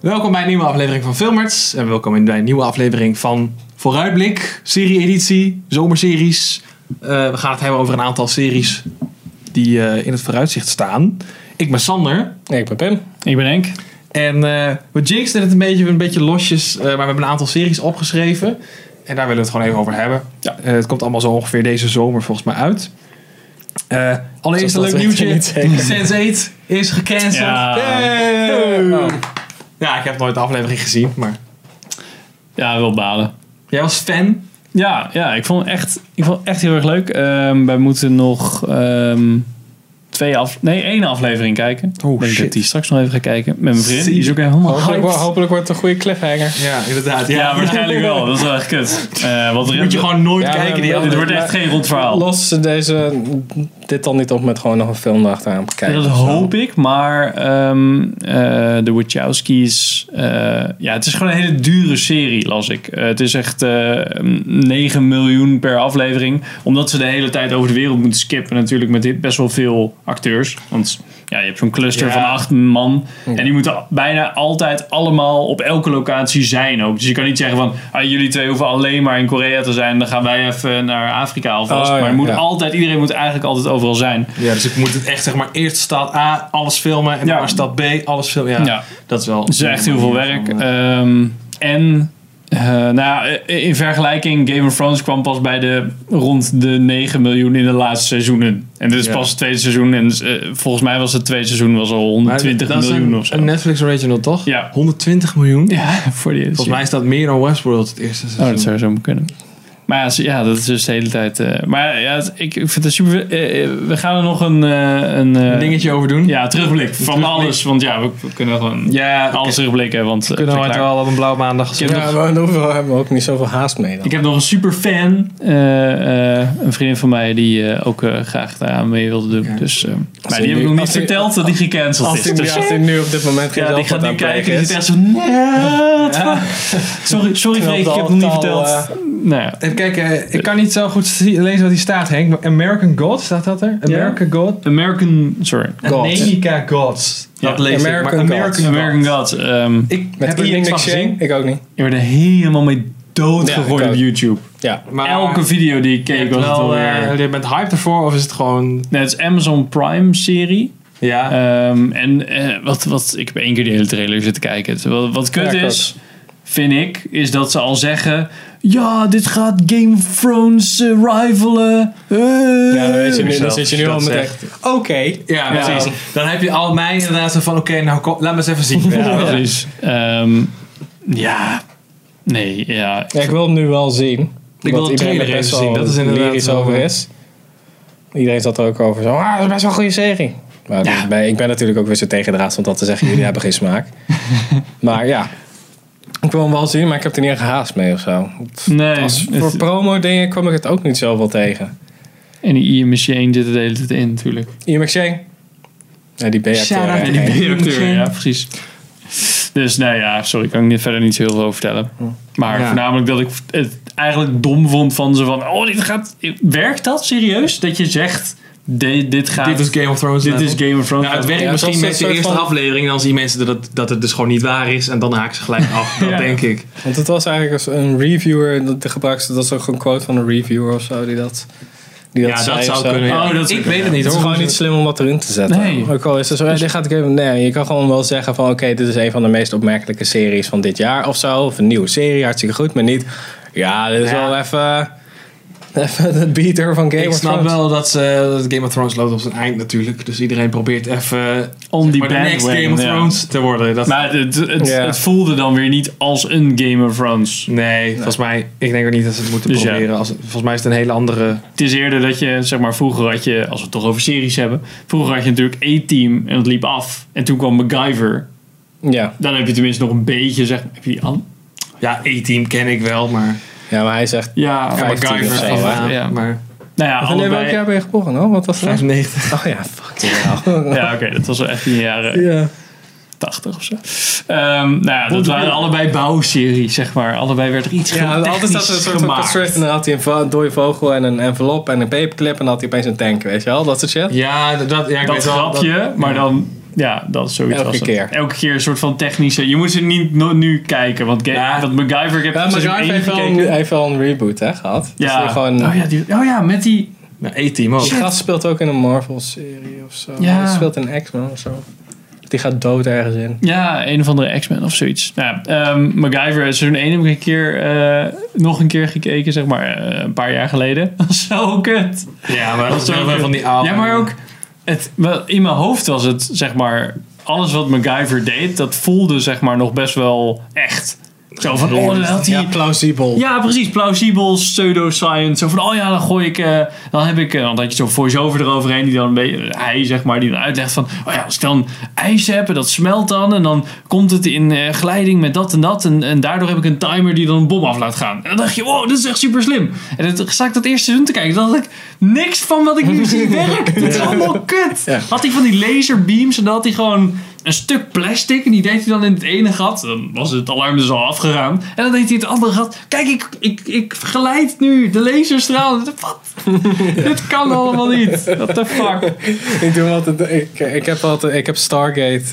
Welkom bij een nieuwe aflevering van Filmerts. En welkom in- bij een nieuwe aflevering van Vooruitblik, serie-editie, zomerseries. Eh, we gaan het hebben over een aantal series die eh, in het vooruitzicht staan. Ik ben Sander. Ik ben Pim. Ik ben Henk. En eh we jinxen het een beetje, een beetje losjes, eh, maar we hebben een aantal series opgeschreven. En daar willen we het gewoon even over hebben. Ja. Eh, het komt allemaal zo ongeveer deze zomer volgens mij uit. Eh allereerst een Zodat leuk we het nieuwtje. niet zeker. Sense8 is gecanceld. Ja. Hey. Oh. Ja, ik heb nooit de aflevering gezien, maar Ja, wel balen. jij was fan. Ja, ja ik, vond het echt, ik vond het echt heel erg leuk. Ehm, wij moeten nog ehm, twee af, nee, één aflevering kijken. Oh, ik denk shit. Oh, dat die straks nog even ga kijken. Met mijn vriend. Zie Die is ook helemaal Hopelijk, hyped. wo- hopelijk wordt het een goede cliffhanger. Ja, inderdaad. Ja, Ja, waarschijnlijk wel. Dat is wel echt kut. Eh, want er- Moet je gewoon nooit Ja, kijken. Die maar- dit andere- wordt echt geen rond verhaal. Los ze deze, dit dan niet op met gewoon nog een film erachteraan te kijken. dat of zo. hoop ik, maar ehm, eh, de Wachowskis. eh, ja, het is gewoon een hele dure serie, las ik. Eh, het is echt eh 9 miljoen per aflevering. Omdat ze de hele tijd over de wereld moeten skippen, natuurlijk, met dit best wel veel acteurs. Want ja, je hebt zo'n cluster Ja. van acht man. En die moeten bijna altijd allemaal op elke locatie zijn ook. Dus je kan niet zeggen van ah, jullie twee hoeven alleen maar in Korea te zijn. Dan gaan wij even naar Afrika alvast. Oh, ja, maar je moet ja. altijd, iedereen moet eigenlijk altijd overal zijn. Ja, dus ik moet het echt zeg maar eerst stad A alles filmen en Ja. dan stad B alles filmen. Ja, Ja. dat is wel. Het is echt heel veel werk. Ehm, en eh, nou ja, eh, in vergelijking, Game of Thrones kwam pas bij de rond de 9 miljoen in de laatste seizoenen. En dit is Ja. pas het tweede seizoen. En eh, volgens mij was het tweede seizoen was al 120 Maar dat is miljoen een, of zo. Een Netflix original toch? Ja. 120 miljoen. Ja, voor die Volgens mij is dat meer dan Westworld het eerste seizoen. Oh, dat zou zo kunnen. Maar ja, ze- ja, dat is dus de hele tijd. eh, maar ja, het- ik, ik vind het super. eh, eh, we gaan er nog een. eh, een eh, Een dingetje over doen. Ja, terugblik van Terugblik. alles. Want ja, we, we kunnen gewoon ja alles terugblikken. Want, eh, Kunnen we klaar. het wel op een blauwe maandag Ik heb gezien. Ja, maar daar hoeven we- hebben we ook niet zoveel haast mee dan. Ik heb nog een super fan. eh, een vriendin van mij die eh, ook eh, graag daaraan mee wilde doen. Ja. Dus, eh, maar hij die heb nu- ik nog niet als hij- verteld dat die gecanceld Als is. hij Dus, als hij nu op dit moment geen ja, die zelfbad gaat nu aan het kijken. plegen Die is. zit echt zo. "Nee, wat?" Sorry, sorry Terwijl Freek, ik het heb al het nog niet taal, verteld. eh, nou ja. Even kijken, eh, ik kan niet zo goed zie- lezen wat hier staat, Henk. maar American God, staat dat er? Ja. American God? American, sorry. Gods. America Gods. Dat Ja, lees ik. American maar American Gods. American God. ehm, Ik Met heb hier Pim niks van niks gezien. gezien? Ik ook niet. je werd er helemaal mee doodgegooid Ja, ik op ook. YouTube. Ja. Maar Elke video die ik je, keek hebt was het wel, alweer. eh, je bent hyped ervoor of is het gewoon... nee, het is Amazon Prime serie. Ja. Ehm, en eh, wat, wat, ik heb één keer die hele trailer zitten kijken. Het- Wat, wat kut Ja, ik is, vind ik, is dat ze al zeggen... Ja, dit gaat Game of Thrones eh, rivalen. Eh." Ja, dan, weet je nu, dan zelfs zit je nu dat al meteen. zegt. Oké. ja, ja. precies. Dan heb je al mij inderdaad zo van, oké, nou kom, laat me eens even zien. Ja, precies. Ehm, ja, nee, ja. Ja, ik wil hem nu wel zien. wil omdat de iedereen trailer er best even zien, wel dat is inderdaad lyrisch wel, over eh, is. Iedereen zat er ook over. Zo, ah, dat is best wel een goede serie. Maar Ja. ik, ben, ik ben natuurlijk ook weer zo tegen de raad om dat te zeggen. Jullie hebben geen smaak. Maar ja. Ik wil hem wel zien, maar ik heb er niet echt haast mee of zo. Nee, Als het- voor promo dingen kwam ik het ook niet zoveel tegen. en die Ian McShane zit er de hele tijd in natuurlijk. IMX Ja, die Shout-out B-acteur. to En hè. die Ian directeur, McShane. ja precies. Dus nou ja, sorry, kan ik niet, verder niet zo heel veel over vertellen. Maar Ja. voornamelijk dat ik het eigenlijk dom vond van ze van... Oh, dit gaat... Werkt dat serieus? Dat je zegt, de- dit gaat... Dit is Game of Thrones. dit is level. Game of Thrones. Nou, het werkt Ja, misschien dat is met een de soort eerste van- aflevering. Dan zien mensen dat, dat het dus gewoon niet waar is. En dan haak ze gelijk af. Dat Ja. denk ik. Want het was eigenlijk als een reviewer, dat de gebruikte, dat is ook een quote van een reviewer of zo, die dat, die dat ja, zei dat of zou zo. kunnen. ja. Oh, dat- ik weet het Het Dus- niet is hoor. gewoon niet slim om dat erin te zetten. Nee. Ook al is het zo, ja, dit gaat ik even. Nee, je kan gewoon wel zeggen van oké, dit is een van de meest opmerkelijke series van dit jaar of zo. Of een nieuwe serie, hartstikke goed, maar niet. Ja, dit is Ja. wel even. Even de beater van eh, Game ik of snap Thrones. wel dat, ze, dat Game of Thrones loopt op zijn eind natuurlijk. Dus iedereen probeert even On the maar de next bandwagon, Game of ja. Thrones te worden. Dat, Maar het, het, Ja. het voelde dan weer niet als een Game of Thrones. nee, volgens mij, ik denk ook niet dat ze het moeten Dus ja. proberen. Als, volgens mij is het een hele andere... Het is eerder dat je, zeg maar, vroeger had je... Als we het toch over series hebben. Vroeger had je natuurlijk A-Team en het liep af. En toen kwam MacGyver. Ja. Dan heb je tenminste nog een beetje, zeg maar... Heb je die aan? Ja, E-team ken ik wel, maar... ja, maar hij zegt. Ja, Ja, Vijftien MacGyver of is zo, wel hè? aan, Ja. maar... Nou ja, Wanneer welk allebei... jaar ben je geboren? hoor? Wat was dat? 95. Oh ja, fuck you. Ja, oké, dat was wel echt in de jaren Ja. 80 of zo. Ehm, nou ja, dat waren allebei bouwseries, zeg maar. Allebei werd er iets Ja, ja, altijd zat er een soort van construct en dan had hij een va- dode vogel en een envelop en een paperclip en dan had hij opeens een tank, weet je wel? Dat soort shit. Ja, dat, ja, ik Dat weet wel, dat- grapje, maar dan Ja, dat is zoiets Elke was het. keer. Elke keer een soort van technische... Je moet ze niet no- nu kijken, want, game, Ja. want MacGyver... Ik heb Ja, het seizoen MacGyver dus één heeft wel, gekeken. een, heeft wel een reboot hè, gehad. Ja. Dus gewoon, Oh, ja, die, oh ja, met die... Nou, E-team ook. Die gast speelt ook in een Marvel-serie of zo. Ja. Die speelt in X-Men of zo. Die gaat dood ergens in. Ja, een of andere X-Men of zoiets. Nou, ja, ehm, MacGyver, seizoen 1 heb ik een keer, eh, nog een keer gekeken, zeg maar, eh, een paar jaar geleden. Dat is zo kut. Ja, maar dat is is wel ook- van die oude. Ja, maar ook, het, wel, in mijn hoofd was het, zeg maar, alles wat MacGyver deed, dat voelde, zeg maar, nog best wel echt. Zo van, oh, dan had hij... plausibel. Ja, precies. Plausibel, pseudoscience. Zo van, oh ja, dan gooi ik... eh, dan heb ik... eh, want dan had je zo'n voice-over eroverheen. Die dan een beetje... Hij, zeg maar, die dan uitlegt van... Oh ja, als ik dan ijs heb en dat smelt dan. En dan komt het in eh, glijding met dat en dat. En, en daardoor heb ik een timer die dan een bom af laat gaan. En dan dacht je, wow, dit is echt super slim. En dan zat ik dat eerste seizoen te kijken. Dan dacht ik, niks van wat ik nu zie werkt. Dit is allemaal kut. Ja. Had hij van die laserbeams en dan had hij gewoon een stuk plastic. En die deed hij dan in het ene gat. Dan was het alarm dus al afgegaan. En dan deed hij in het andere gat. Kijk, ik, ik, ik vergeleid nu de laserstraal. Wat? Dit kan allemaal niet. What the fuck? Ik, doe altijd, ik, ik, heb altijd, ik heb Stargate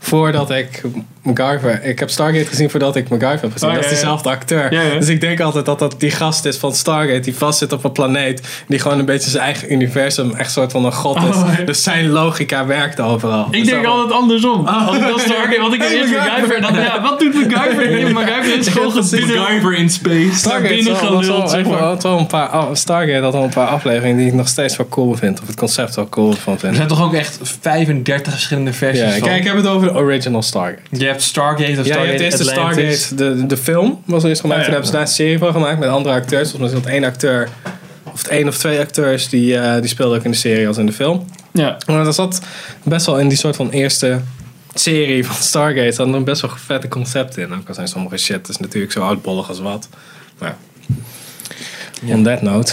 voordat ik MacGyver... Ik heb Stargate gezien voordat ik MacGyver heb gezien. Oh, ja, dat is ja. diezelfde acteur. Ja, ja. Dus ik denk altijd dat dat die gast is van Stargate. Die vast zit op een planeet. Die gewoon een beetje zijn eigen universum. Echt soort van een god is. Oh, ja. Dus zijn logica werkt overal. Dus Ik denk altijd andersom. Ah. Want dat is Stargate, want ik heb Hey, eerst MacGyver. MacGyver. en Dan, ja, wat doet MacGyver? Nee, MacGyver is gewoon gebieden. MacGyver in space. naar Stargate binnen had wel- geluld, had zeg wel- maar. had wel een paar, af- Stargate had al een paar afleveringen die ik nog steeds wel cool vind. Of het concept wel cool van Er vind. zijn toch ook echt 35 verschillende versies Ja, van. kijk, ik heb het over de original Stargate. Je hebt Stargate, of Ja, je Stargate hebt eerst de Atlantis. Stargate, de, de film was er eerst gemaakt. Oh, ja. Toen hebben ze daar een serie van gemaakt met andere acteurs. Volgens mij is dat één acteur, of het één of twee acteurs, die, eh, die speelden ook in de serie als in de film. Ja. Maar dat zat best wel in die soort van eerste serie van Stargate. Dan een best wel vette concepten in. Ook al zijn sommige shit is natuurlijk zo oudbollig als wat. Maar on that note.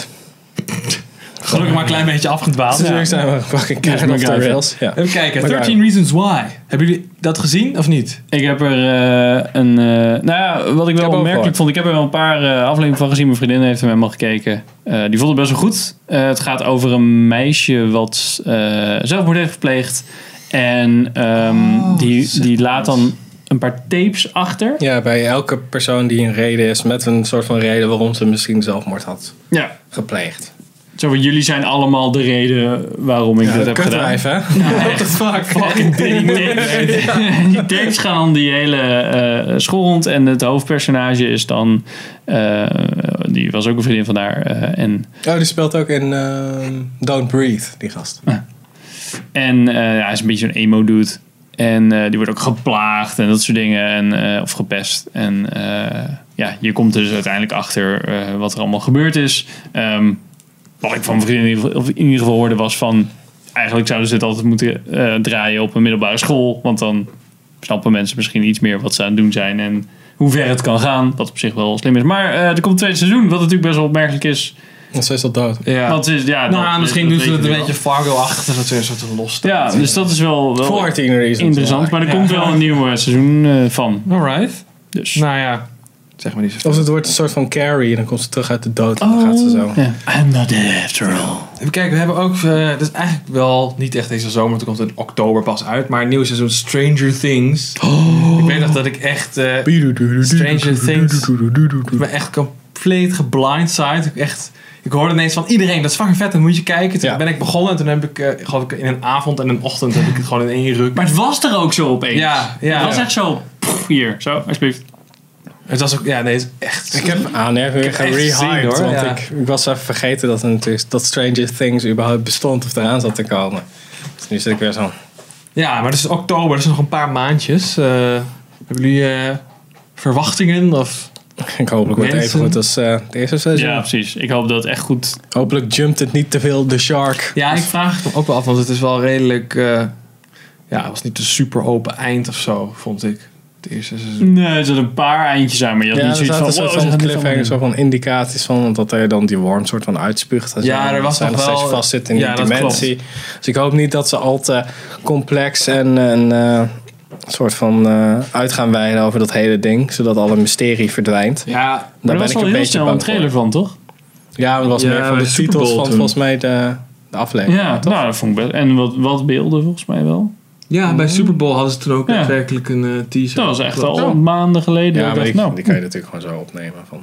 Gelukkig maar een klein beetje afgedwaald. Natuurlijk zijn we fucking keihard Ja, off the MacGyver. rails. Ja. Even kijken, Maar 13 Reasons Why. Hebben jullie dat gezien of niet? Ik heb er eh, een. eh, nou ja, wat ik wel ook opmerkelijk gehoord. vond. Ik heb er wel een paar eh, afleveringen van gezien. Mijn vriendin heeft hem helemaal gekeken. Eh, die vond het best wel goed. Eh, het gaat over een meisje wat eh, zelfmoord heeft gepleegd. En ehm, Oh, die, zeg die maar laat eens. dan een paar tapes achter. ja, bij elke persoon die een reden is met een soort van reden waarom ze misschien zelfmoord had Ja. gepleegd. Zo van, jullie zijn allemaal de reden waarom ik dit heb gedaan. Kutwijf, hè? What the fuck? Fucking die tapes. Die tapes gaan om die hele eh, school rond. En het hoofdpersonage is dan... eh, die was ook een vriendin van haar. eh, en Oh, die speelt ook in ehm, Don't Breathe, die gast. En eh, hij is een beetje zo'n emo-dude. En eh, die wordt ook geplaagd en dat soort dingen. En, eh, of gepest. En eh, ja, je komt er dus uiteindelijk achter eh, wat er allemaal gebeurd is. Ehm, wat ik van mijn vrienden in ieder geval- of in ieder geval hoorde was van... Eigenlijk zouden ze het altijd moeten eh, draaien op een middelbare school. Want dan snappen mensen misschien iets meer wat ze aan het doen zijn. En hoe ver het kan gaan. Wat op zich wel slim is. Maar eh, er komt een tweede seizoen. Wat natuurlijk best wel opmerkelijk is. En ze is al dood. Ja. Want ze is- ja, nou, dat- misschien dat doen ze weet het je een wel. beetje Fargo-achtig. Dat ze een soort van los staat. Ja, dus dat is wel... wel 14 reasons. interessant. Maar er Ja. komt wel een nieuw eh, seizoen eh, van. Alright. Dus. Nou ja, zeg maar niet zo Of het wordt een soort van Carrie en dan komt ze terug uit de dood en dan gaat ze zo. Ja. I'm not dead after all. Even kijken, we hebben ook... eh dat is eigenlijk wel niet echt deze zomer. want Het komt in oktober pas uit. Maar een nieuw seizoen Stranger Things. Ik weet nog dat ik echt... eh, Stranger Things. Ik ben echt compleet geblindsided. Ik, echt, ik hoorde ineens van iedereen, dat is fucking vet, dan moet je kijken. Toen Ja. ben ik begonnen en toen heb ik, eh, geloof ik, in een avond en een ochtend heb ik het gewoon in één ruk. Maar het was er ook zo opeens. Ja, ja. Het was echt zo. pff, hier, zo, alsjeblieft. Het was ook, ja, nee, het is echt... Ik heb aanmerkingen heb echt gezien, gerehyped, hoor. want Ja. ik, ik was even vergeten dat, er natuurlijk, dat Stranger Things überhaupt bestond of eraan zat te komen. Dus nu zit ik weer zo. Ja, maar het is oktober, dat is nog een paar maandjes. Eh, hebben jullie eh, verwachtingen of... Ik hopelijk wordt het Mensen. even goed als eh het eerste seizoen. Ja, precies. Ik hoop dat het echt goed. Hopelijk jumpt het niet te veel de shark. Ja, ik vraag Dus het me ook wel af, want het is wel redelijk... eh, ja, het was niet een super open eind of zo, vond ik. Het eerste seizoen. Nee, er zaten een paar eindjes aan, maar je had Ja, niet er zoiets zaten van. een soort wow, ze van gaan dit cliffhangers, allemaal soort van indicaties van dat hij dan die worm soort van uitspuugt. en zo. Ja, er was Dat hij nog nog steeds wel- vast zit in Ja, die dat dimensie. Dus ik hoop niet dat ze al te complex en en, eh, soort van eh, uit gaan wijden over dat hele ding, zodat alle mysterie verdwijnt. Ja, doen. Maar Daar er ben was ik al een heel beetje snel een bang trailer voor. van, toch? Ja, het was Ja, meer van bij de de titels Super Bowl van toen. volgens mij de, de Ja, aflevering. nou, dat vond ik best. En wat, wat beelden volgens mij wel. Ja, bij Super Bowl hadden ze toen ook Ja. daadwerkelijk een eh, teaser. Dat was echt Klopt. al Ja. maanden geleden. Ja, ik maar dacht, die, nou, die kan je natuurlijk gewoon zo opnemen. Van.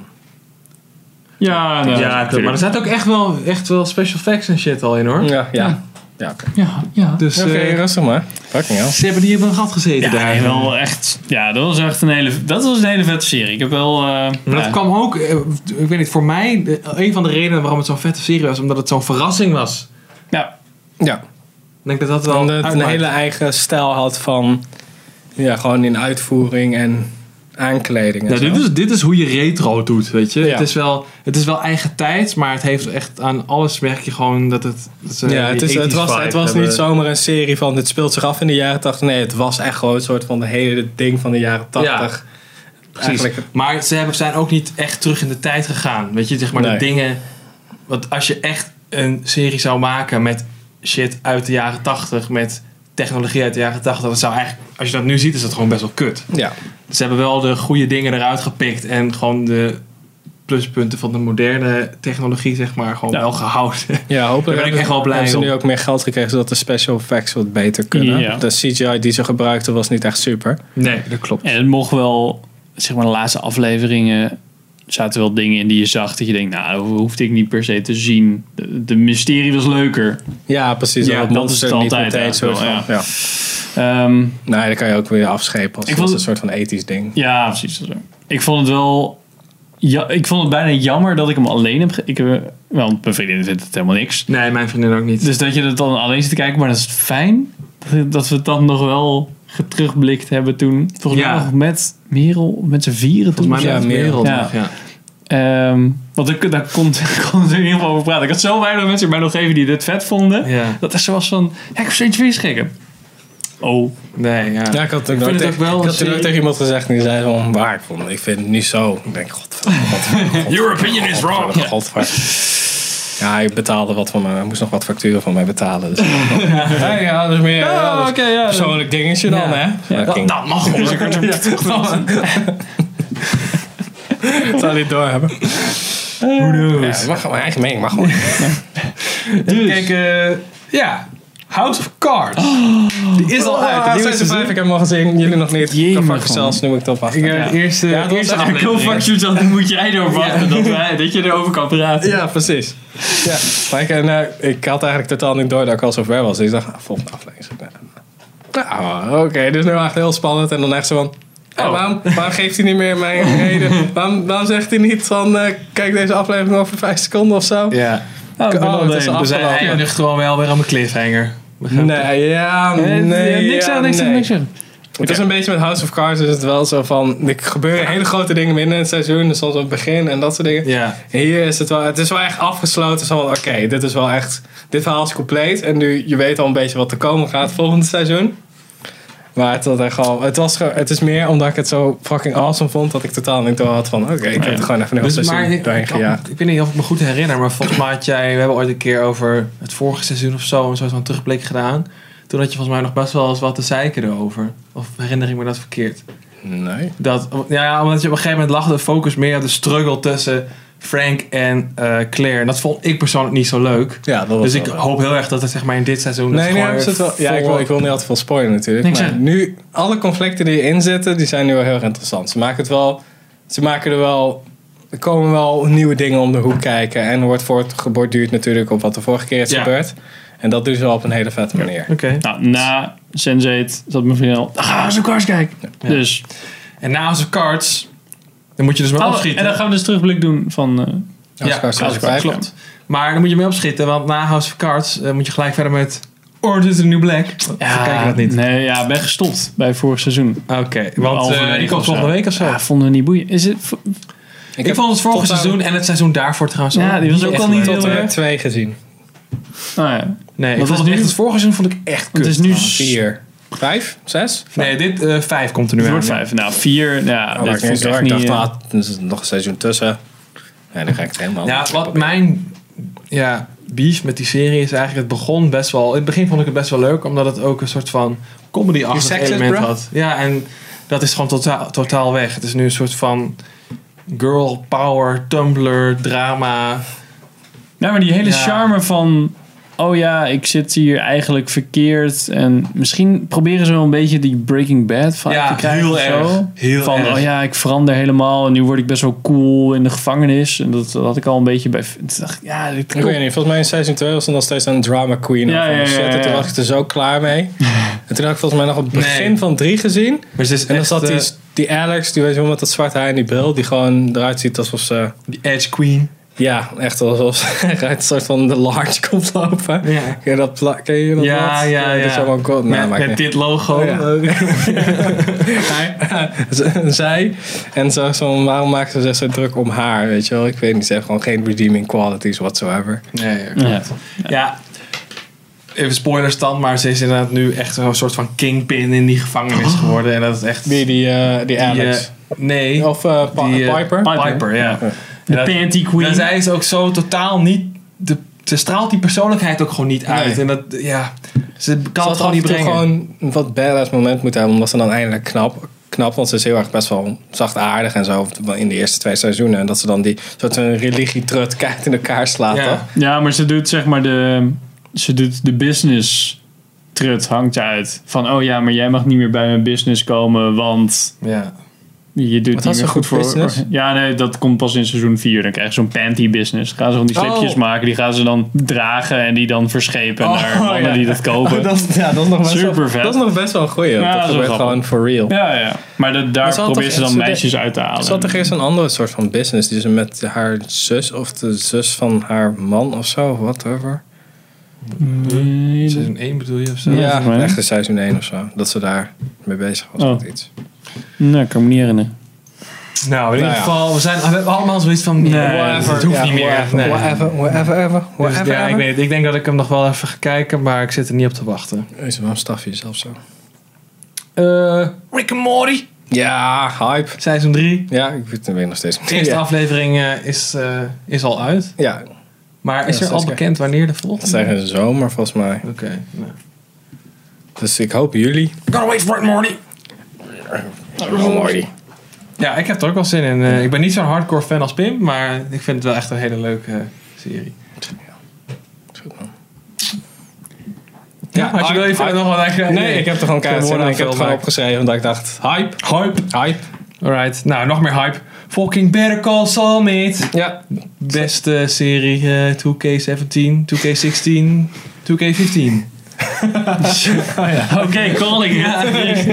ja, Ja, nou, klopt. natuurlijk. maar er zaten ook echt wel, echt wel special facts en shit al in hoor. Ja, ja. ja oké. Ja, ja. Dus Oké, eh, rustig maar. Fucking hell. ze hebben die op een gat gezeten Ja, daar. nee, wel echt. Ja, dat was echt een hele, dat was een hele vette serie. Ik heb wel. eh, Maar ja. dat kwam ook, eh, ik weet niet, voor mij de- een van de redenen waarom het zo'n vette serie was, omdat het zo'n verrassing was. Ja, Ja, Ik denk dat dat wel omdat het een uitmaakt. hele eigen stijl had van... Ja, gewoon in uitvoering en aankleding en Nou, zo. dit, is, dit is hoe je retro doet, weet je. Ja. Het, is wel, het is wel eigen tijd, maar het heeft echt aan alles merk je gewoon dat het... dat ze ja, het, die is, het 80s was, het vibe was hebben. niet zomaar een serie van dit speelt zich af in de jaren 80. Nee, het was echt gewoon een soort van de hele ding van de jaren 80. Precies. Eigenlijk- Maar ze hebben, zijn ook niet echt terug in de tijd gegaan. Weet je, zeg maar Nee. de dingen... Want als je echt een serie zou maken met shit uit de jaren 80, met technologie uit de jaren 80, dat zou eigenlijk... Als je dat nu ziet, is dat gewoon best wel kut. Ja. Ze hebben wel de goede dingen eruit gepikt en gewoon de pluspunten van de moderne technologie, zeg maar, gewoon Ja. wel gehouden. ja, hopelijk Daar ben ik hebben echt wel ze- blij hebben ze nu om. ook meer geld gekregen zodat de special effects wat beter kunnen. Ja. De CGI die ze gebruikten was niet echt super. Nee, dat klopt. en het mocht wel. Zeg maar de laatste afleveringen zaten wel dingen in die je zag dat je denkt, nou, dat hoefde ik niet per se te zien. De, de mysterie was leuker. Ja, precies. Ja, dat dat monster is het niet altijd meteen soort van. Ja. eigenlijk Ehm, Nee, dat kan je ook weer afschepen als Ik ik vond- een soort van ethisch ding. ja, precies. dat is waar. Ik vond het wel. Ja, ik vond het bijna jammer dat ik hem alleen heb. ge- Ik heb wel, mijn vriendin vindt het helemaal niks. Nee, mijn vriendin ook niet. Dus dat je dat dan alleen zit te kijken, maar dat is fijn. Dat- Dat we het dan nog wel terugblikt hebben toen. Volgens mij Ja. nog met Merel, met z'n vieren toen. Volgens mij Ja, met meer. wereld Ja. nog, ja. Ehm, want ik, daar kon ik kon er in ieder geval over praten. Ik had zo weinig mensen bij mij nog even die dit vet vonden. Ja. Dat er zo was van, ja, ik heb zoiets weer schikken. Oh, Nee, ja. Ja, ik had het ook, vind het tegen, ook wel ik een had toen ook serie- tegen iemand gezegd en die zei van waar ik vond het. Ik vind het niet zo. Ik denk, godverdomme. Your opinion is wrong. godverdomme, godverdomme. Ja, ik betaalde wat van me. Hij moest nog wat facturen van mij betalen. Dus ja, ja, dat is meer ja, dat is oké, ja. een persoonlijk dingetje dan, Ja. Nou, hè? Ja, Fucking- Dat mag hoor. dat zou hij door hebben. Who knows. Eh, Ja, mag gewoon mijn eigen mening, mag gewoon. Dus. Kijk, eh, ja. House of Cards. Die is al uit. Ah, Het nieuwe seizoen vijf, seizoen. ik heb hem al gezien, jullie nog niet. Jee, Kan maar fuck gewoon. zelfs noem ik eh, top af. eh, Ik heb Ja. de eerste, Ja, dat was eerste de aflevering. go fuck you, dat moet jij erop wachten dat, wij, dat je erover kan praten. Ja, precies. Ja. Maar ik, eh, nou, ik had eigenlijk totaal niet door dat ik al zo ver was. Dus ik dacht, ah, volgende aflevering. Nou, oké. dus nu echt heel spannend. En dan echt zo van... eh, Oh. waarom, waarom geeft hij niet meer mijn reden? waarom, waarom zegt hij niet van... eh, kijk deze aflevering over vijf seconden of zo? Ja. Oh, ik ben Oh, al het is alleen. We zijn Afgelopen. eindig gewoon wel weer aan mijn cliffhanger. We gaan- Nee, ja, Eh, nee, niks ja, aan, niks aan, nee. niks aan. Het is een beetje met House of Cards. Is het wel zo van... Er gebeuren hele grote dingen midden in het seizoen. en Soms op het begin en dat soort dingen. Ja. Hier is het wel, het is wel echt afgesloten. Zo van, oké, dit is wel echt, dit verhaal is compleet. En nu, je weet al een beetje wat er komen gaat volgend seizoen. Maar het, was echt wel, het, was, gewoon- het is meer omdat ik het zo fucking awesome vond, dat ik totaal niet door had van, oké, ik heb het gewoon even een heel Dus, maar, seizoen ik, doorheen kan- gejaagd. ik weet niet of ik me goed herinner, maar volgens mij had jij... We hebben ooit een keer over het vorige seizoen of zo een soort van terugblik gedaan. Toen had je volgens mij nog best wel eens wat te zeiken erover. Of herinner ik me dat verkeerd? Nee. Dat, ja, omdat je op een gegeven moment lag de focus meer op de struggle tussen Frank en eh, Claire. En dat vond ik persoonlijk niet zo leuk. Ja, dat was Dus wel ik leuk. hoop heel erg dat het zeg maar in dit seizoen... dat Nee, het nee, gewoon is het weer wel, ja, ik, wil, vol- ik wil niet altijd veel spoilen natuurlijk. Niks maar aan. nu, alle conflicten die erin zitten, die zijn nu wel heel erg interessant. Ze maken het wel, ze maken er wel, er komen wel nieuwe dingen om de hoek kijken. En er wordt voortgeborduurd natuurlijk op wat de vorige keer is Ja. gebeurd. En dat doen ze wel op een hele vette manier. Oké. Nou, na Sense8 zat mijn vriendin al, "Ah, gaan we zo'n kars kijken. Ja. Dus, En na House of Cards, dan moet je dus maar oh, en opschieten. dan gaan we dus terugblik doen van... eh, Als Ja, ik als ik House of vijf- Cards, klopt. Maar dan moet je mee opschieten, want na House of Cards eh, moet je gelijk verder met Orange is the New Black. Ja, kijken we dat niet. Nee, ja, ben gestopt bij vorig seizoen. Oké, want Halverwege eh, die of komt zo. volgende week of zo. Ja, vonden we niet boeiend. Is het, ik, heb vond het vorige tot aan- seizoen en het seizoen daarvoor trouwens Ja, die was ook echt al niet leuk. tot heel en erg. met twee gezien. nou ja. Nee, ik Wat vond was het nu? echt, het vorige seizoen vond ik echt kut. Want het is nu trouwens. Nou, Vier. Vijf? Zes? Nee, dit eh, vijf komt er nu Het aan. wordt vijf. Nou, vier. Ja, Oh, dat dat ik vond ik niet echt door. Ik niet... dacht, eh, ah, er is nog een seizoen tussen. Nee, dan ga ik het helemaal Ja, anders wat proberen. mijn ja, beef met die serie is eigenlijk, het begon best wel... In het begin vond ik het best wel leuk, omdat het ook een soort van Die comedy-achtig sexist, element bruh? had. Ja, en dat is gewoon totaal, totaal weg. Het is nu een soort van girl power, Tumblr, drama. Ja, maar die hele Ja. charme van... oh ja, ik zit hier eigenlijk verkeerd. En misschien proberen ze wel een beetje die Breaking Bad vibe Ja, te krijgen. heel of zo. erg. Heel van, erg. oh ja, ik verander helemaal en nu word ik best wel cool in de gevangenis. En dat, dat had ik al een beetje bij... Toen dacht ik, ja, dit Ik weet niet, volgens mij in seizoen 2 was er nog steeds een drama queen. Ja, of ja, ja, shit. En toen ja. was ik er zo klaar mee. en toen had ik volgens mij nog op het begin Nee. van 3 gezien. Maar ze is En dan echt, zat die, eh, die Alex, die weet je wel, met dat zwarte haar en die bril, die gewoon eruit ziet alsof ze... die Edge Queen. Ja, echt alsof ze uit een soort van de large komt lopen. Ja. Ken je dat, pla- ken je dat Ja, blad? ja, Dat is ja. allemaal god. Nee, met nou, maakt met niet. dit logo. Oh, ja. Hij- z- zij. En zo, zo, waarom maken ze zich zo druk om haar, weet je wel? Ik weet niet, ze heeft gewoon geen redeeming qualities whatsoever. Nee, ja. Ja. Ja. Even spoilers dan, maar ze is inderdaad nu echt een soort van kingpin in die gevangenis geworden. En dat is echt... Wie, die, eh, die die, Alex. eh, nee, of eh, Pa- die, eh, Piper. Piper, ja. Ja. De Ja, dat- panty queen. En zij is ook zo totaal niet... De, ze straalt die persoonlijkheid ook gewoon niet uit. Nee. En dat, ja... Ze kan Ze het had gewoon af en niet toe brengen. gewoon een wat badass moment moeten hebben, omdat ze dan eindelijk knap, knap want ze is heel erg best wel zacht aardig en zo in de eerste twee seizoenen. En dat ze dan die soort van religietrut keihard in elkaar slaat. Ja. toch? Ja, maar ze doet zeg maar de, ze doet de business trut hangt uit. Van oh ja, maar jij mag niet meer bij mijn business komen, want Ja. je doet Wat niet had ze meer goed voor voor. business? Ja, nee, dat komt pas in seizoen 4. Dan krijg je zo'n panty business. Dan gaan ze van die slipjes Oh. maken, die gaan ze dan dragen en die dan verschepen Oh, naar mannen ja. Oh, die dat kopen. dat, is- ja, dat is nog best wel, Super vet. Dat is nog best wel een goeie. want Ja, dat dat is wel gebeurt grappig. gewoon for real. Ja, ja. Maar dat, daar Maar ze had probeert toch ze dan echt- ze meisjes uit te halen. Ze had toch eerst een andere soort van business die ze met haar zus of de zus van haar man of zo, whatever. Nee, dat- Seizoen 1 bedoel je of zo? Ja, volgens Ja, mij. echt in seizoen 1 of zo. Dat ze daar mee bezig was Oh. met iets. Nee, ik kan me niet herinneren. Nou, in Nou ieder ja. geval, we, zijn, we hebben allemaal zoiets van... Nee, het hoeft Ja, niet meer. Whatever, Nee. whatever, whatever, Dus whatever. ja, ik, weet het. ik denk dat ik hem nog wel even ga kijken, maar ik zit er niet op te wachten. Jezus, waarom staf je jezelf zo? Eh Rick and Morty, Ja, hype. seizoen 3. Ja, ik weet het weer nog steeds. De eerste ja. aflevering eh, is, eh, is al uit. ja, Maar is Ja, er al zeker. bekend wanneer de dat volgende? zijn in de zomer volgens mij. Oké. nou. Dus ik hoop jullie. Gotta wait for it, Morty. Mooi. Ja, ik heb er ook wel zin in. Eh, ik ben niet zo'n hardcore fan als Pim, maar ik vind het wel echt een hele leuke eh, serie. Ja, had je, wil je hype, verder nog wat eigenlijk? Nee, ik heb er gewoon keihard zin in. woorden Ik heb het veel, gewoon maar- opgeschreven omdat ik dacht, hype, Hype. hype. Alright, nou nog meer hype. Fucking Better Call Saul, mate. Ja, Beste serie eh, 2K17, 2K16, 2K15. Oké, calling. Ja, dus,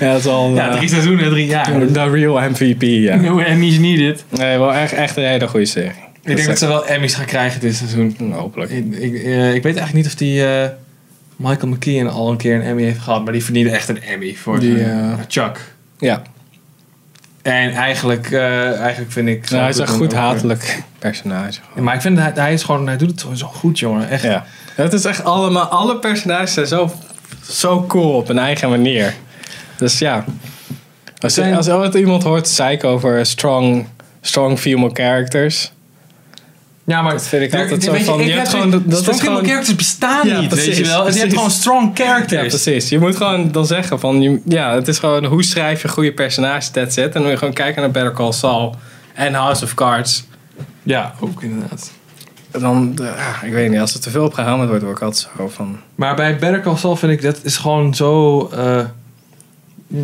ja dat is al Ja, eh, drie seizoenen, drie jaar. de real MVP, ja. Hoe Emmy's niet dit. Nee, wel echt, echt een hele goede serie. Ik denk dat is ze wel Emmys gaan krijgen dit seizoen. echt- Hopelijk. Ik, ik, eh, ik weet eigenlijk niet of die eh, Michael McKean al een keer een Emmy heeft gehad, maar die verdiende echt een Emmy voor Die, zijn- eh, Chuck. Ja, En eigenlijk, eh, eigenlijk vind ik. nou, hij is een goed ook- hatelijk personage. Ja, maar ik vind hij, hij is gewoon, hij doet het zo- zo goed, jongen. Echt. Ja. Het is echt allemaal, alle personages zijn zo, zo cool op hun eigen manier. Dus ja. Als, je- Zijn- als je ooit iemand hoort zeiken over strong, strong female characters. Ja, maar Dat vind ik er- altijd weet zo je, van, ik je heb hebt geen- gewoon- dat- dat strong is female gewoon- characters bestaan niet, Ja, weet precies, je wel. Dus je hebt precies. gewoon strong Ja, characters. precies. Je moet gewoon dan zeggen van, je, ja, het is gewoon hoe schrijf je goede personages, that's it. En dan moet je gewoon kijken naar Better Call Saul en House of Cards. ja, ook inderdaad. En Dan, eh, ik weet niet, als er te veel op gehamerd wordt, word ik altijd zo van... Maar bij Better Call Saul vind ik dat is gewoon zo. eh,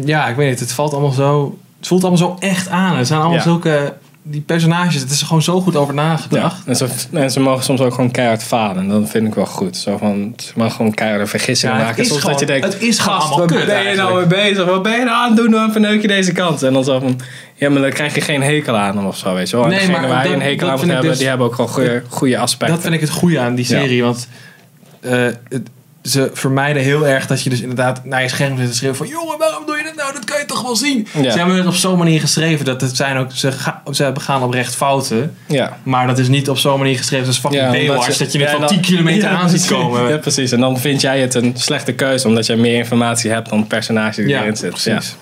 ja, ik weet niet. Het valt allemaal zo. Het voelt allemaal zo echt aan. Er zijn allemaal Ja. zulke. Die personages, het is er gewoon zo goed over nagedacht. En, ze, en ze mogen soms ook gewoon keihard falen. En dat vind ik wel goed. Zo van, ze mogen gewoon keiharde vergissingen Ja, het maken. is Soms gewoon- dat je denkt, het is gewoon gast, allemaal wat kut ben je nou mee bezig? Wat ben je nou aan het doen? Dan verneuk je deze kant. En dan zo van, ja, maar dan krijg je geen hekel aan hem of zo, weet je wel. En Nee, degene maar waar je dat- een hekel dat aan moet vind ik hebben, dus- die hebben ook gewoon goede, goede aspecten. Dat vind ik het goede aan die Ja. serie. Want eh, het- ze vermijden heel erg dat je dus inderdaad naar je scherm zit te schreeuwen van... Jongen, waarom doe je dat nou? Dat kan je toch wel zien? Ja. Ze hebben het op zo'n manier geschreven dat het zijn ook... Ze, ga, ze begaan oprecht fouten. Ja. Maar dat is niet op zo'n manier geschreven als fucking omdat Baywatch. Dat je het ja, van dan- 10 kilometer Ja, aan ziet precies. komen. Ja, precies. En dan vind jij het een slechte keuze, omdat jij meer informatie hebt dan het personage die Ja, erin zit. precies.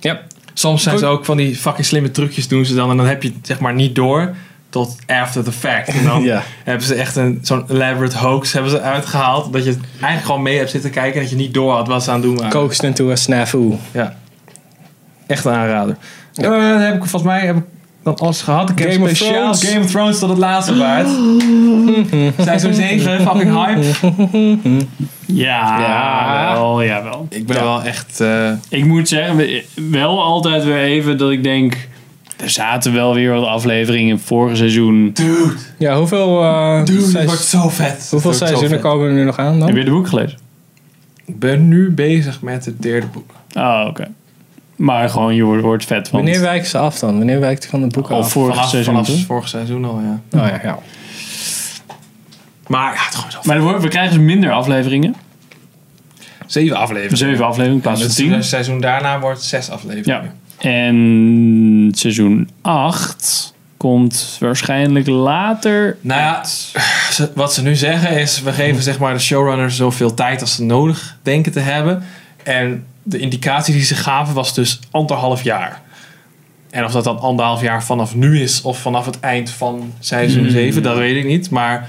Ja. ja. Soms zijn Goed. ze ook van die fucking slimme trucjes doen ze dan. En dan heb je het zeg maar niet door tot after the fact. En dan Ja. hebben ze echt een zo'n elaborate hoax hebben ze uitgehaald. Dat je het eigenlijk gewoon mee hebt zitten kijken. En dat je niet door had wat ze aan het doen waren. Coaxed into a snafu. Ja. Echt een aanrader. Eh, dan heb Eh, ik, volgens mij heb ik dan alles gehad. Ik heb Game of speciaal Thrones. Game of Thrones tot het laatste waard. Seizoen 7, fucking hype. Ja, Ja. wel, ja, wel. Ik ben Ja. wel echt... eh, Ik moet zeggen, we- wel altijd weer even dat ik denk... Er zaten wel weer wat afleveringen vorige seizoen. dude, Ja, hoeveel, eh, dude, seiz- het wordt zo vet. hoeveel Het wordt zo seizoenen vet. komen er nu nog aan Heb dan? je de boek gelezen? Ik ben nu bezig met het derde boek. Oh, oké. Maar gewoon, je wordt, wordt vet van. Wanneer wijken ze af dan? Wanneer wijkt hij van de boeken Al af? vorig vanaf, seizoen, vanaf toch? vorig seizoen al, ja. Oh ja, ja. Maar ja, het is gewoon zo vet. Maar er wordt- we krijgen dus minder afleveringen. Zeven afleveringen. Zeven afleveringen in En plaats van het tien. seizoen daarna wordt zes afleveringen. Ja. En seizoen 8 komt waarschijnlijk later. Nou ja, ze- wat ze nu zeggen is, we geven zeg maar de showrunners zoveel tijd als ze nodig denken te hebben. En de indicatie die ze gaven was dus anderhalf jaar. En of dat dan anderhalf jaar vanaf nu is of vanaf het eind van seizoen Mm, 7, ja. dat weet ik niet. Maar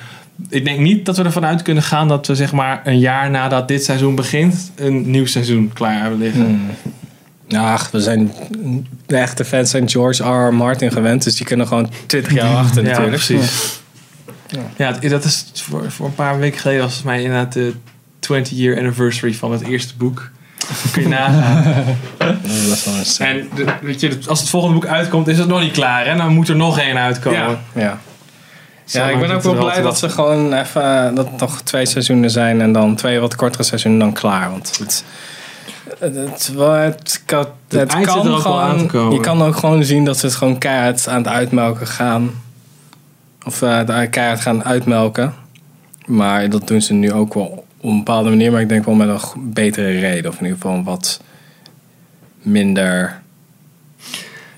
ik denk niet dat we ervan uit kunnen gaan dat we zeg maar een jaar nadat dit seizoen begint, een nieuw seizoen klaar hebben liggen. Ach, we zijn de echte fans zijn George R. R. Martin gewend, dus die kunnen gewoon 20 jaar wachten Ja, natuurlijk. precies. Ja. Ja, het- dat is voor, voor een paar weken geleden was het mij inderdaad de 20-year anniversary van het eerste boek. Kun je nagaan. Ja, Dat is wel een st- En de- weet je, als het volgende boek uitkomt, is het nog niet klaar. En dan moet er nog één uitkomen. Ja. Ja. Zo ja, ik lang ben duurt ook het wel wel blij te dat ze gewoon even eh, dat het nog twee seizoenen zijn en dan twee wat kortere seizoenen dan klaar. Want het, het, het, het kan, Het eind het zit er kan ook wel aan te gewoon. komen. Je kan ook gewoon zien dat ze het gewoon keihard aan het uitmelken gaan. Of eh, de- keihard gaan uitmelken. Maar dat doen ze nu ook wel op een bepaalde manier. Maar ik denk wel met een go- betere reden. Of in ieder geval een wat minder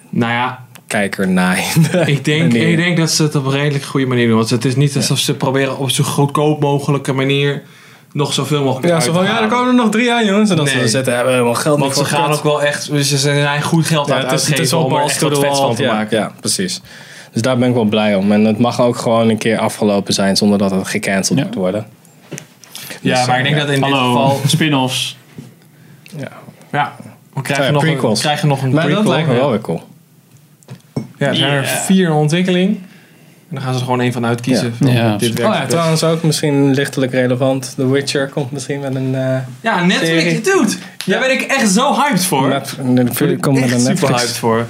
Nou ja, kijkernaaiende ik denk, manier. ik denk dat ze het op een redelijk goede manier doen. Want het is niet alsof ze proberen op zo goedkoop mogelijke manier nog zoveel mogelijk Ja, uit zo te van, ja, halen. er komen er nog drie aan, jongens. En dan Nee. ze zetten, hebben we helemaal geld Want ze niet voor gaan geld. ook wel echt, dus ze zijn goed geld aan Ja, het het is, het is uitgeven wel om er echt balls to wat the vets wall. van te ja, maken. Ja, precies. Dus daar ben ik wel blij om. En het mag ook gewoon een keer afgelopen zijn zonder dat het gecanceld Ja. moet worden. Ja, Dus, maar ik denk ja. dat in dit Hallo, geval... spin-offs. Ja, we krijgen, Zijn nog, een, we prequels. krijgen nog een Maar prequel. dat lijkt me ja. wel weer cool. Ja, er zijn eh, er Ja. vier in ontwikkeling. En dan gaan ze er gewoon één van uitkiezen. Ja. Van, Ja. Dit werkt Oh ja, best. trouwens ook misschien lichtelijk relevant. The Witcher komt misschien met een... eh Ja, Netflix, Serie. dude. Daar ben ik echt zo hyped voor. Daar net- net- ben komt met ik een echt super Netflix. hyped voor.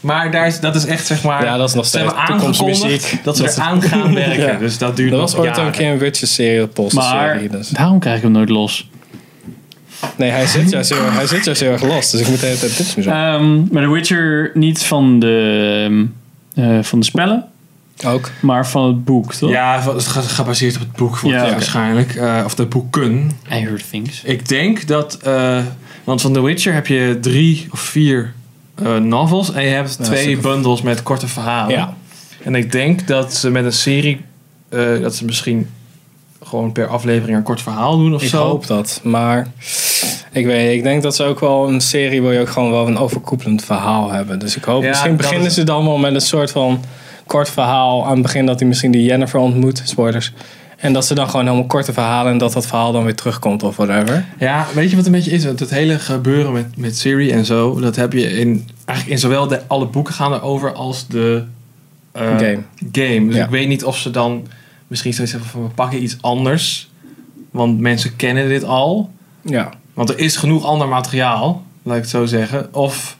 Maar daar is, dat is echt, zeg maar... Ja, dat is nog ze steeds hebben aangekondigd toekomstmuziek. dat ze Dat is- eraan gaan werken. Ja. Dus dat duurt Er nog was ooit jaren. een keer een Witcher-serie op Post. Maar dus. daarom krijg ik hem nooit los. Nee, hij zit juist heel, hij zit juist heel erg los. Dus ik moet de hele tijd tips nu zo. Ehm, maar The Witcher niet van de, eh, van de spellen, Ook. maar van het boek, toch? Ja, het is ge- gebaseerd op het boek wordt Ja, het oké. waarschijnlijk. Eh, of de boeken. I Heard Things. Ik denk dat. eh, want van The Witcher heb je drie of vier eh, novels. En je hebt Ja, twee zeker. bundels met korte verhalen. Ja. En ik denk dat ze met een serie. eh, dat ze misschien gewoon per aflevering een kort verhaal doen of Ik zo. hoop dat, maar ik weet, ik denk dat ze ook wel een serie wil je ook gewoon wel een overkoepelend verhaal hebben. Dus ik hoop, Ja, misschien dat beginnen is- ze dan wel met een soort van kort verhaal aan het begin dat hij misschien die Jennifer ontmoet, spoilers. En dat ze dan gewoon helemaal korte verhalen en dat dat verhaal dan weer terugkomt of whatever. Ja, weet je wat een beetje is? Want het hele gebeuren met, met serie en zo. Dat heb je in. Eigenlijk in zowel de, alle boeken gaan erover als de. eh, Game. game. Dus Ja. ik weet niet of ze dan misschien zoiets hebben van we pakken iets anders. Want mensen kennen dit al. Ja. Want er is genoeg ander materiaal, laat ik het zo zeggen. Of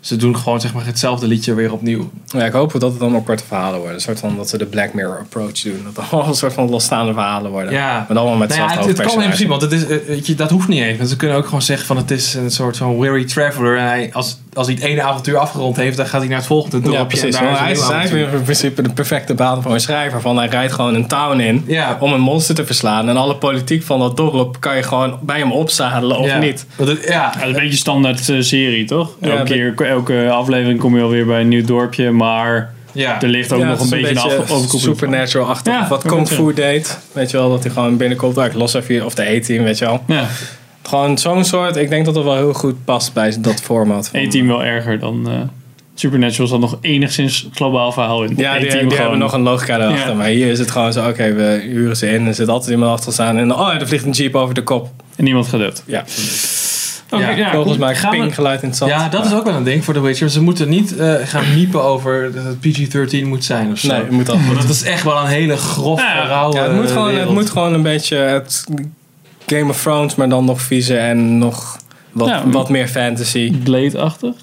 ze doen gewoon zeg maar, hetzelfde liedje weer opnieuw. ja, ik hoop dat het allemaal korte verhalen worden. Een soort van dat ze de Black Mirror approach doen. Dat het allemaal een soort van losstaande verhalen worden. Ja. Maar allemaal met Nou ja, hetzelfde het, het kan in hoofdpersonage. principe, want het is, eh, weet je, dat hoeft niet even. Ze kunnen ook gewoon zeggen van het is een soort van weary traveler. En hij, als, als hij het ene avontuur afgerond heeft, dan gaat hij naar het volgende dorpje. Ja, en precies. daar Maar is een hij is nieuw avontuur. eigenlijk in principe de perfecte baan voor een schrijver. Van hij rijdt gewoon een town in Ja. om een monster te verslaan. En alle politiek van dat dorp kan je gewoon bij hem opzadelen of ja. niet. Want het- Ja, ja. dat is een beetje standaard eh, serie, toch? Ja, elke, dat- keer, elke aflevering kom je alweer bij een nieuw dorpje, maar ja. er ligt ook Ja, nog het een is beetje een af- overkoepelend. supernatural-achtig. Ja, wat dat Kung moet Fu deed. Weet je wel, dat hij gewoon binnenkomt. Ah, ik los even hier. Of de E-team, weet je wel. Ja, Gewoon zo'n soort. Ik denk dat dat wel heel goed past bij dat format. van- E-team wel erger dan eh, Supernatural. zat nog enigszins globaal verhaal in. Ja, die, E-team die hebben gewoon. nog een logica erachter. Ja. Maar hier is het gewoon zo, oké, we huren ze in. Er zit altijd iemand achter staan. En oh, ja, er vliegt een jeep over de kop. En niemand gaat dood. Ja. Oké, Ja, ja, Volgens cool. mij Gaan we- ping geluid in het zand. Ja, dat is ook wel een ding voor The Witcher. Ze moeten niet eh, gaan miepen over dat het PG-13 moet zijn of zo. Nee, het moet al. Want dat is echt wel een hele grof, Ja, rauwe Ja, het, moet gewoon, het wereld. moet gewoon een beetje het Game of Thrones, maar dan nog viezer en nog wat, Ja. wat meer fantasy. Blade-achtig.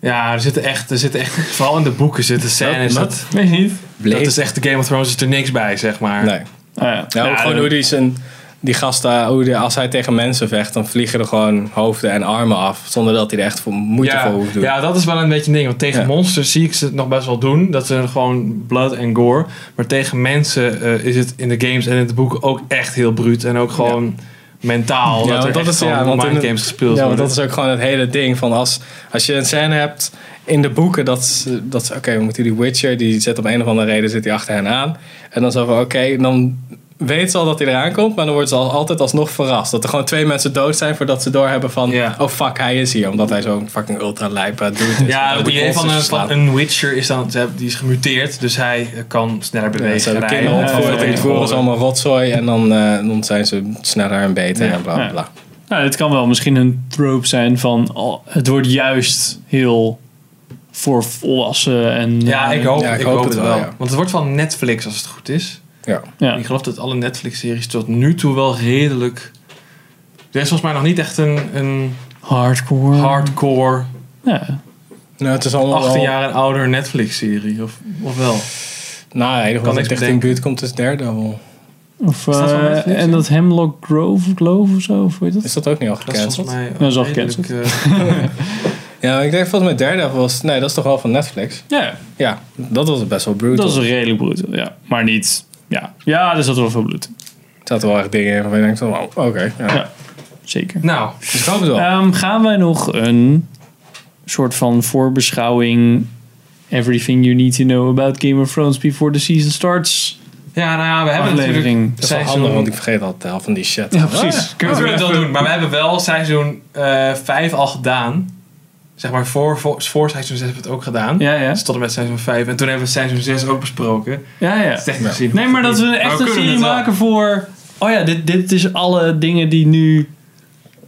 Ja, er zitten echt, er zitten echt vooral in de boeken zitten scènes. Wat? Dat, Weet je niet? dat is echt, de Game of Thrones is er niks bij, zeg maar. Nee. Ah, ja. Ja, ook Ja, gewoon dat- hoe die, zijn, die gast daar, hoe die, als hij tegen mensen vecht, dan vliegen er gewoon hoofden en armen af. Zonder dat hij er echt voor moeite ja, voor hoeft te doen. ja, dat is wel een beetje een ding. Want tegen Ja. monsters zie ik ze het nog best wel doen. Dat ze gewoon blood en gore. Maar tegen mensen eh, is het in de games en in de boeken ook echt heel bruut. En ook gewoon mentaal. Ja, dat er want dat echt is- gewoon ja, want in mind de- games gespeeld Ja, want worden. dat is ook gewoon het hele ding. Van als, als je een scène hebt in de boeken, dat, ze- dat ze- oké, we moeten die Witcher, die zit om een of andere reden zit die achter hen aan. En dan zo van, oké, dan weten ze al dat hij eraan komt, maar dan worden ze al, altijd alsnog verrast. Dat er gewoon twee mensen dood zijn voordat ze doorhebben van, Ja. oh fuck, hij is hier. Omdat hij zo'n fucking ultra lijpe doet. Ja, het idee van een, van een Witcher is dan, ze hebben- die is gemuteerd, dus hij eh, kan sneller bewegen. Ze hebben rijden, kinderen eh, opgevoed en tegen die voeren ze voren. allemaal rotzooi en dan, eh, dan zijn ze sneller en beter Ja. en bla bla Ja. bla. Nou, het kan wel misschien een trope zijn van oh, het wordt juist heel voor volwassen en eh, Ja, ik hoop, Ja, ik hoop, het wel. ja. Want het wordt van Netflix als het goed is. Ja. Ja. Ik geloof dat alle Netflix-series tot nu toe wel redelijk... Er is volgens mij nog niet echt een, een hardcore. hardcore Ja. Nou, het is allemaal 18 wel- jaar en ouder Netflix-serie. Of, of wel? Nou, het enige Kan wat niks echt in de bedenken. buurt komt is Daredevil. Of, Is dat van eh, Netflix, en ja? dat Hemlock Grove, Grove of zo, of hoe heet dat? Is dat ook niet al Dat is gecanceld? volgens mij Dat is al redelijk, gecanceld. eh, Ja, maar ik denk volgens mij Daredevil was... Nee, dat is toch wel van Netflix? Ja, Ja, dat was best wel brutal. dat is redelijk brutal, ja. Maar niet, ja. Ja, er zat wel veel bloed in. Er zaten wel echt dingen in waarvan je denkt van... wow, oké. ja. Ja. Zeker. nou, Dus ik hoop het wel. Ehm, gaan wij nog een soort van voorbeschouwing... Everything you need to know about Game of Thrones before the season starts. ja, nou ja, we hebben Aflevering. natuurlijk dat is wel handig, want ik vergeet altijd de helft van die shit. Ah, Ja, precies. Ah, Kunnen we natuurlijk wel doen, maar we hebben wel seizoen 5 al gedaan. Zeg maar, voor, voor, voor seizoen 6 hebben we het ook gedaan. Ja, ja. Dus tot en met seizoen 5. En toen hebben we seizoen 6 ook besproken. Ja, ja. Technisch gezien. Nee, maar dat we Maar echt we een kunnen serie het wel. maken voor... Oh ja, dit, dit is alle dingen die nu...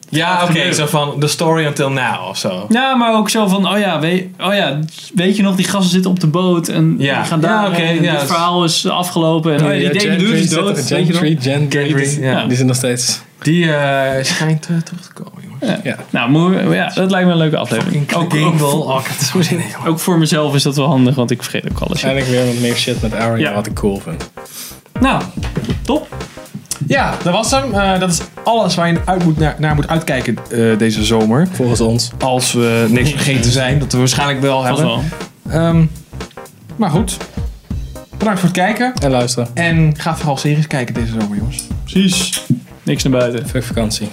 Ja, oké. Gebeurt. Zo van The Story Until Now of zo. Ja, maar ook zo van... Oh ja, weet, oh ja, weet je nog, die gasten zitten op de boot en Ja. die gaan daar. Ja, oké, en ja, dit dat- verhaal is afgelopen. En oh ja, die Gen ene dude is dood. Gen weet je nog? Tree, Gen Gendry, Tree, ja. Die zijn nog steeds... Die eh, schijnt eh, terug te komen, jongens. Ja. Nou, moeten we- ja, dat lijkt me een leuke aflevering. Fucking Ook, Dingle. ook, Oh, ik heb er zo zin in. jongen. ook voor mezelf is dat wel handig, want ik vergeet ook alles. Waarschijnlijk weer wat meer shit met Arya, Ja. wat ik cool vind. Nou, top. Ja, dat was hem. Eh, dat is alles waar je uit moet naar, naar moet uitkijken eh, deze zomer. Volgens ons. Als we niks vergeten zijn, dat we waarschijnlijk wel Dat hebben. wel. Ehm, maar goed. Bedankt voor het kijken. En luisteren. En ga vooral series kijken deze zomer, jongens. Precies. Niks naar buiten. Veel vakantie.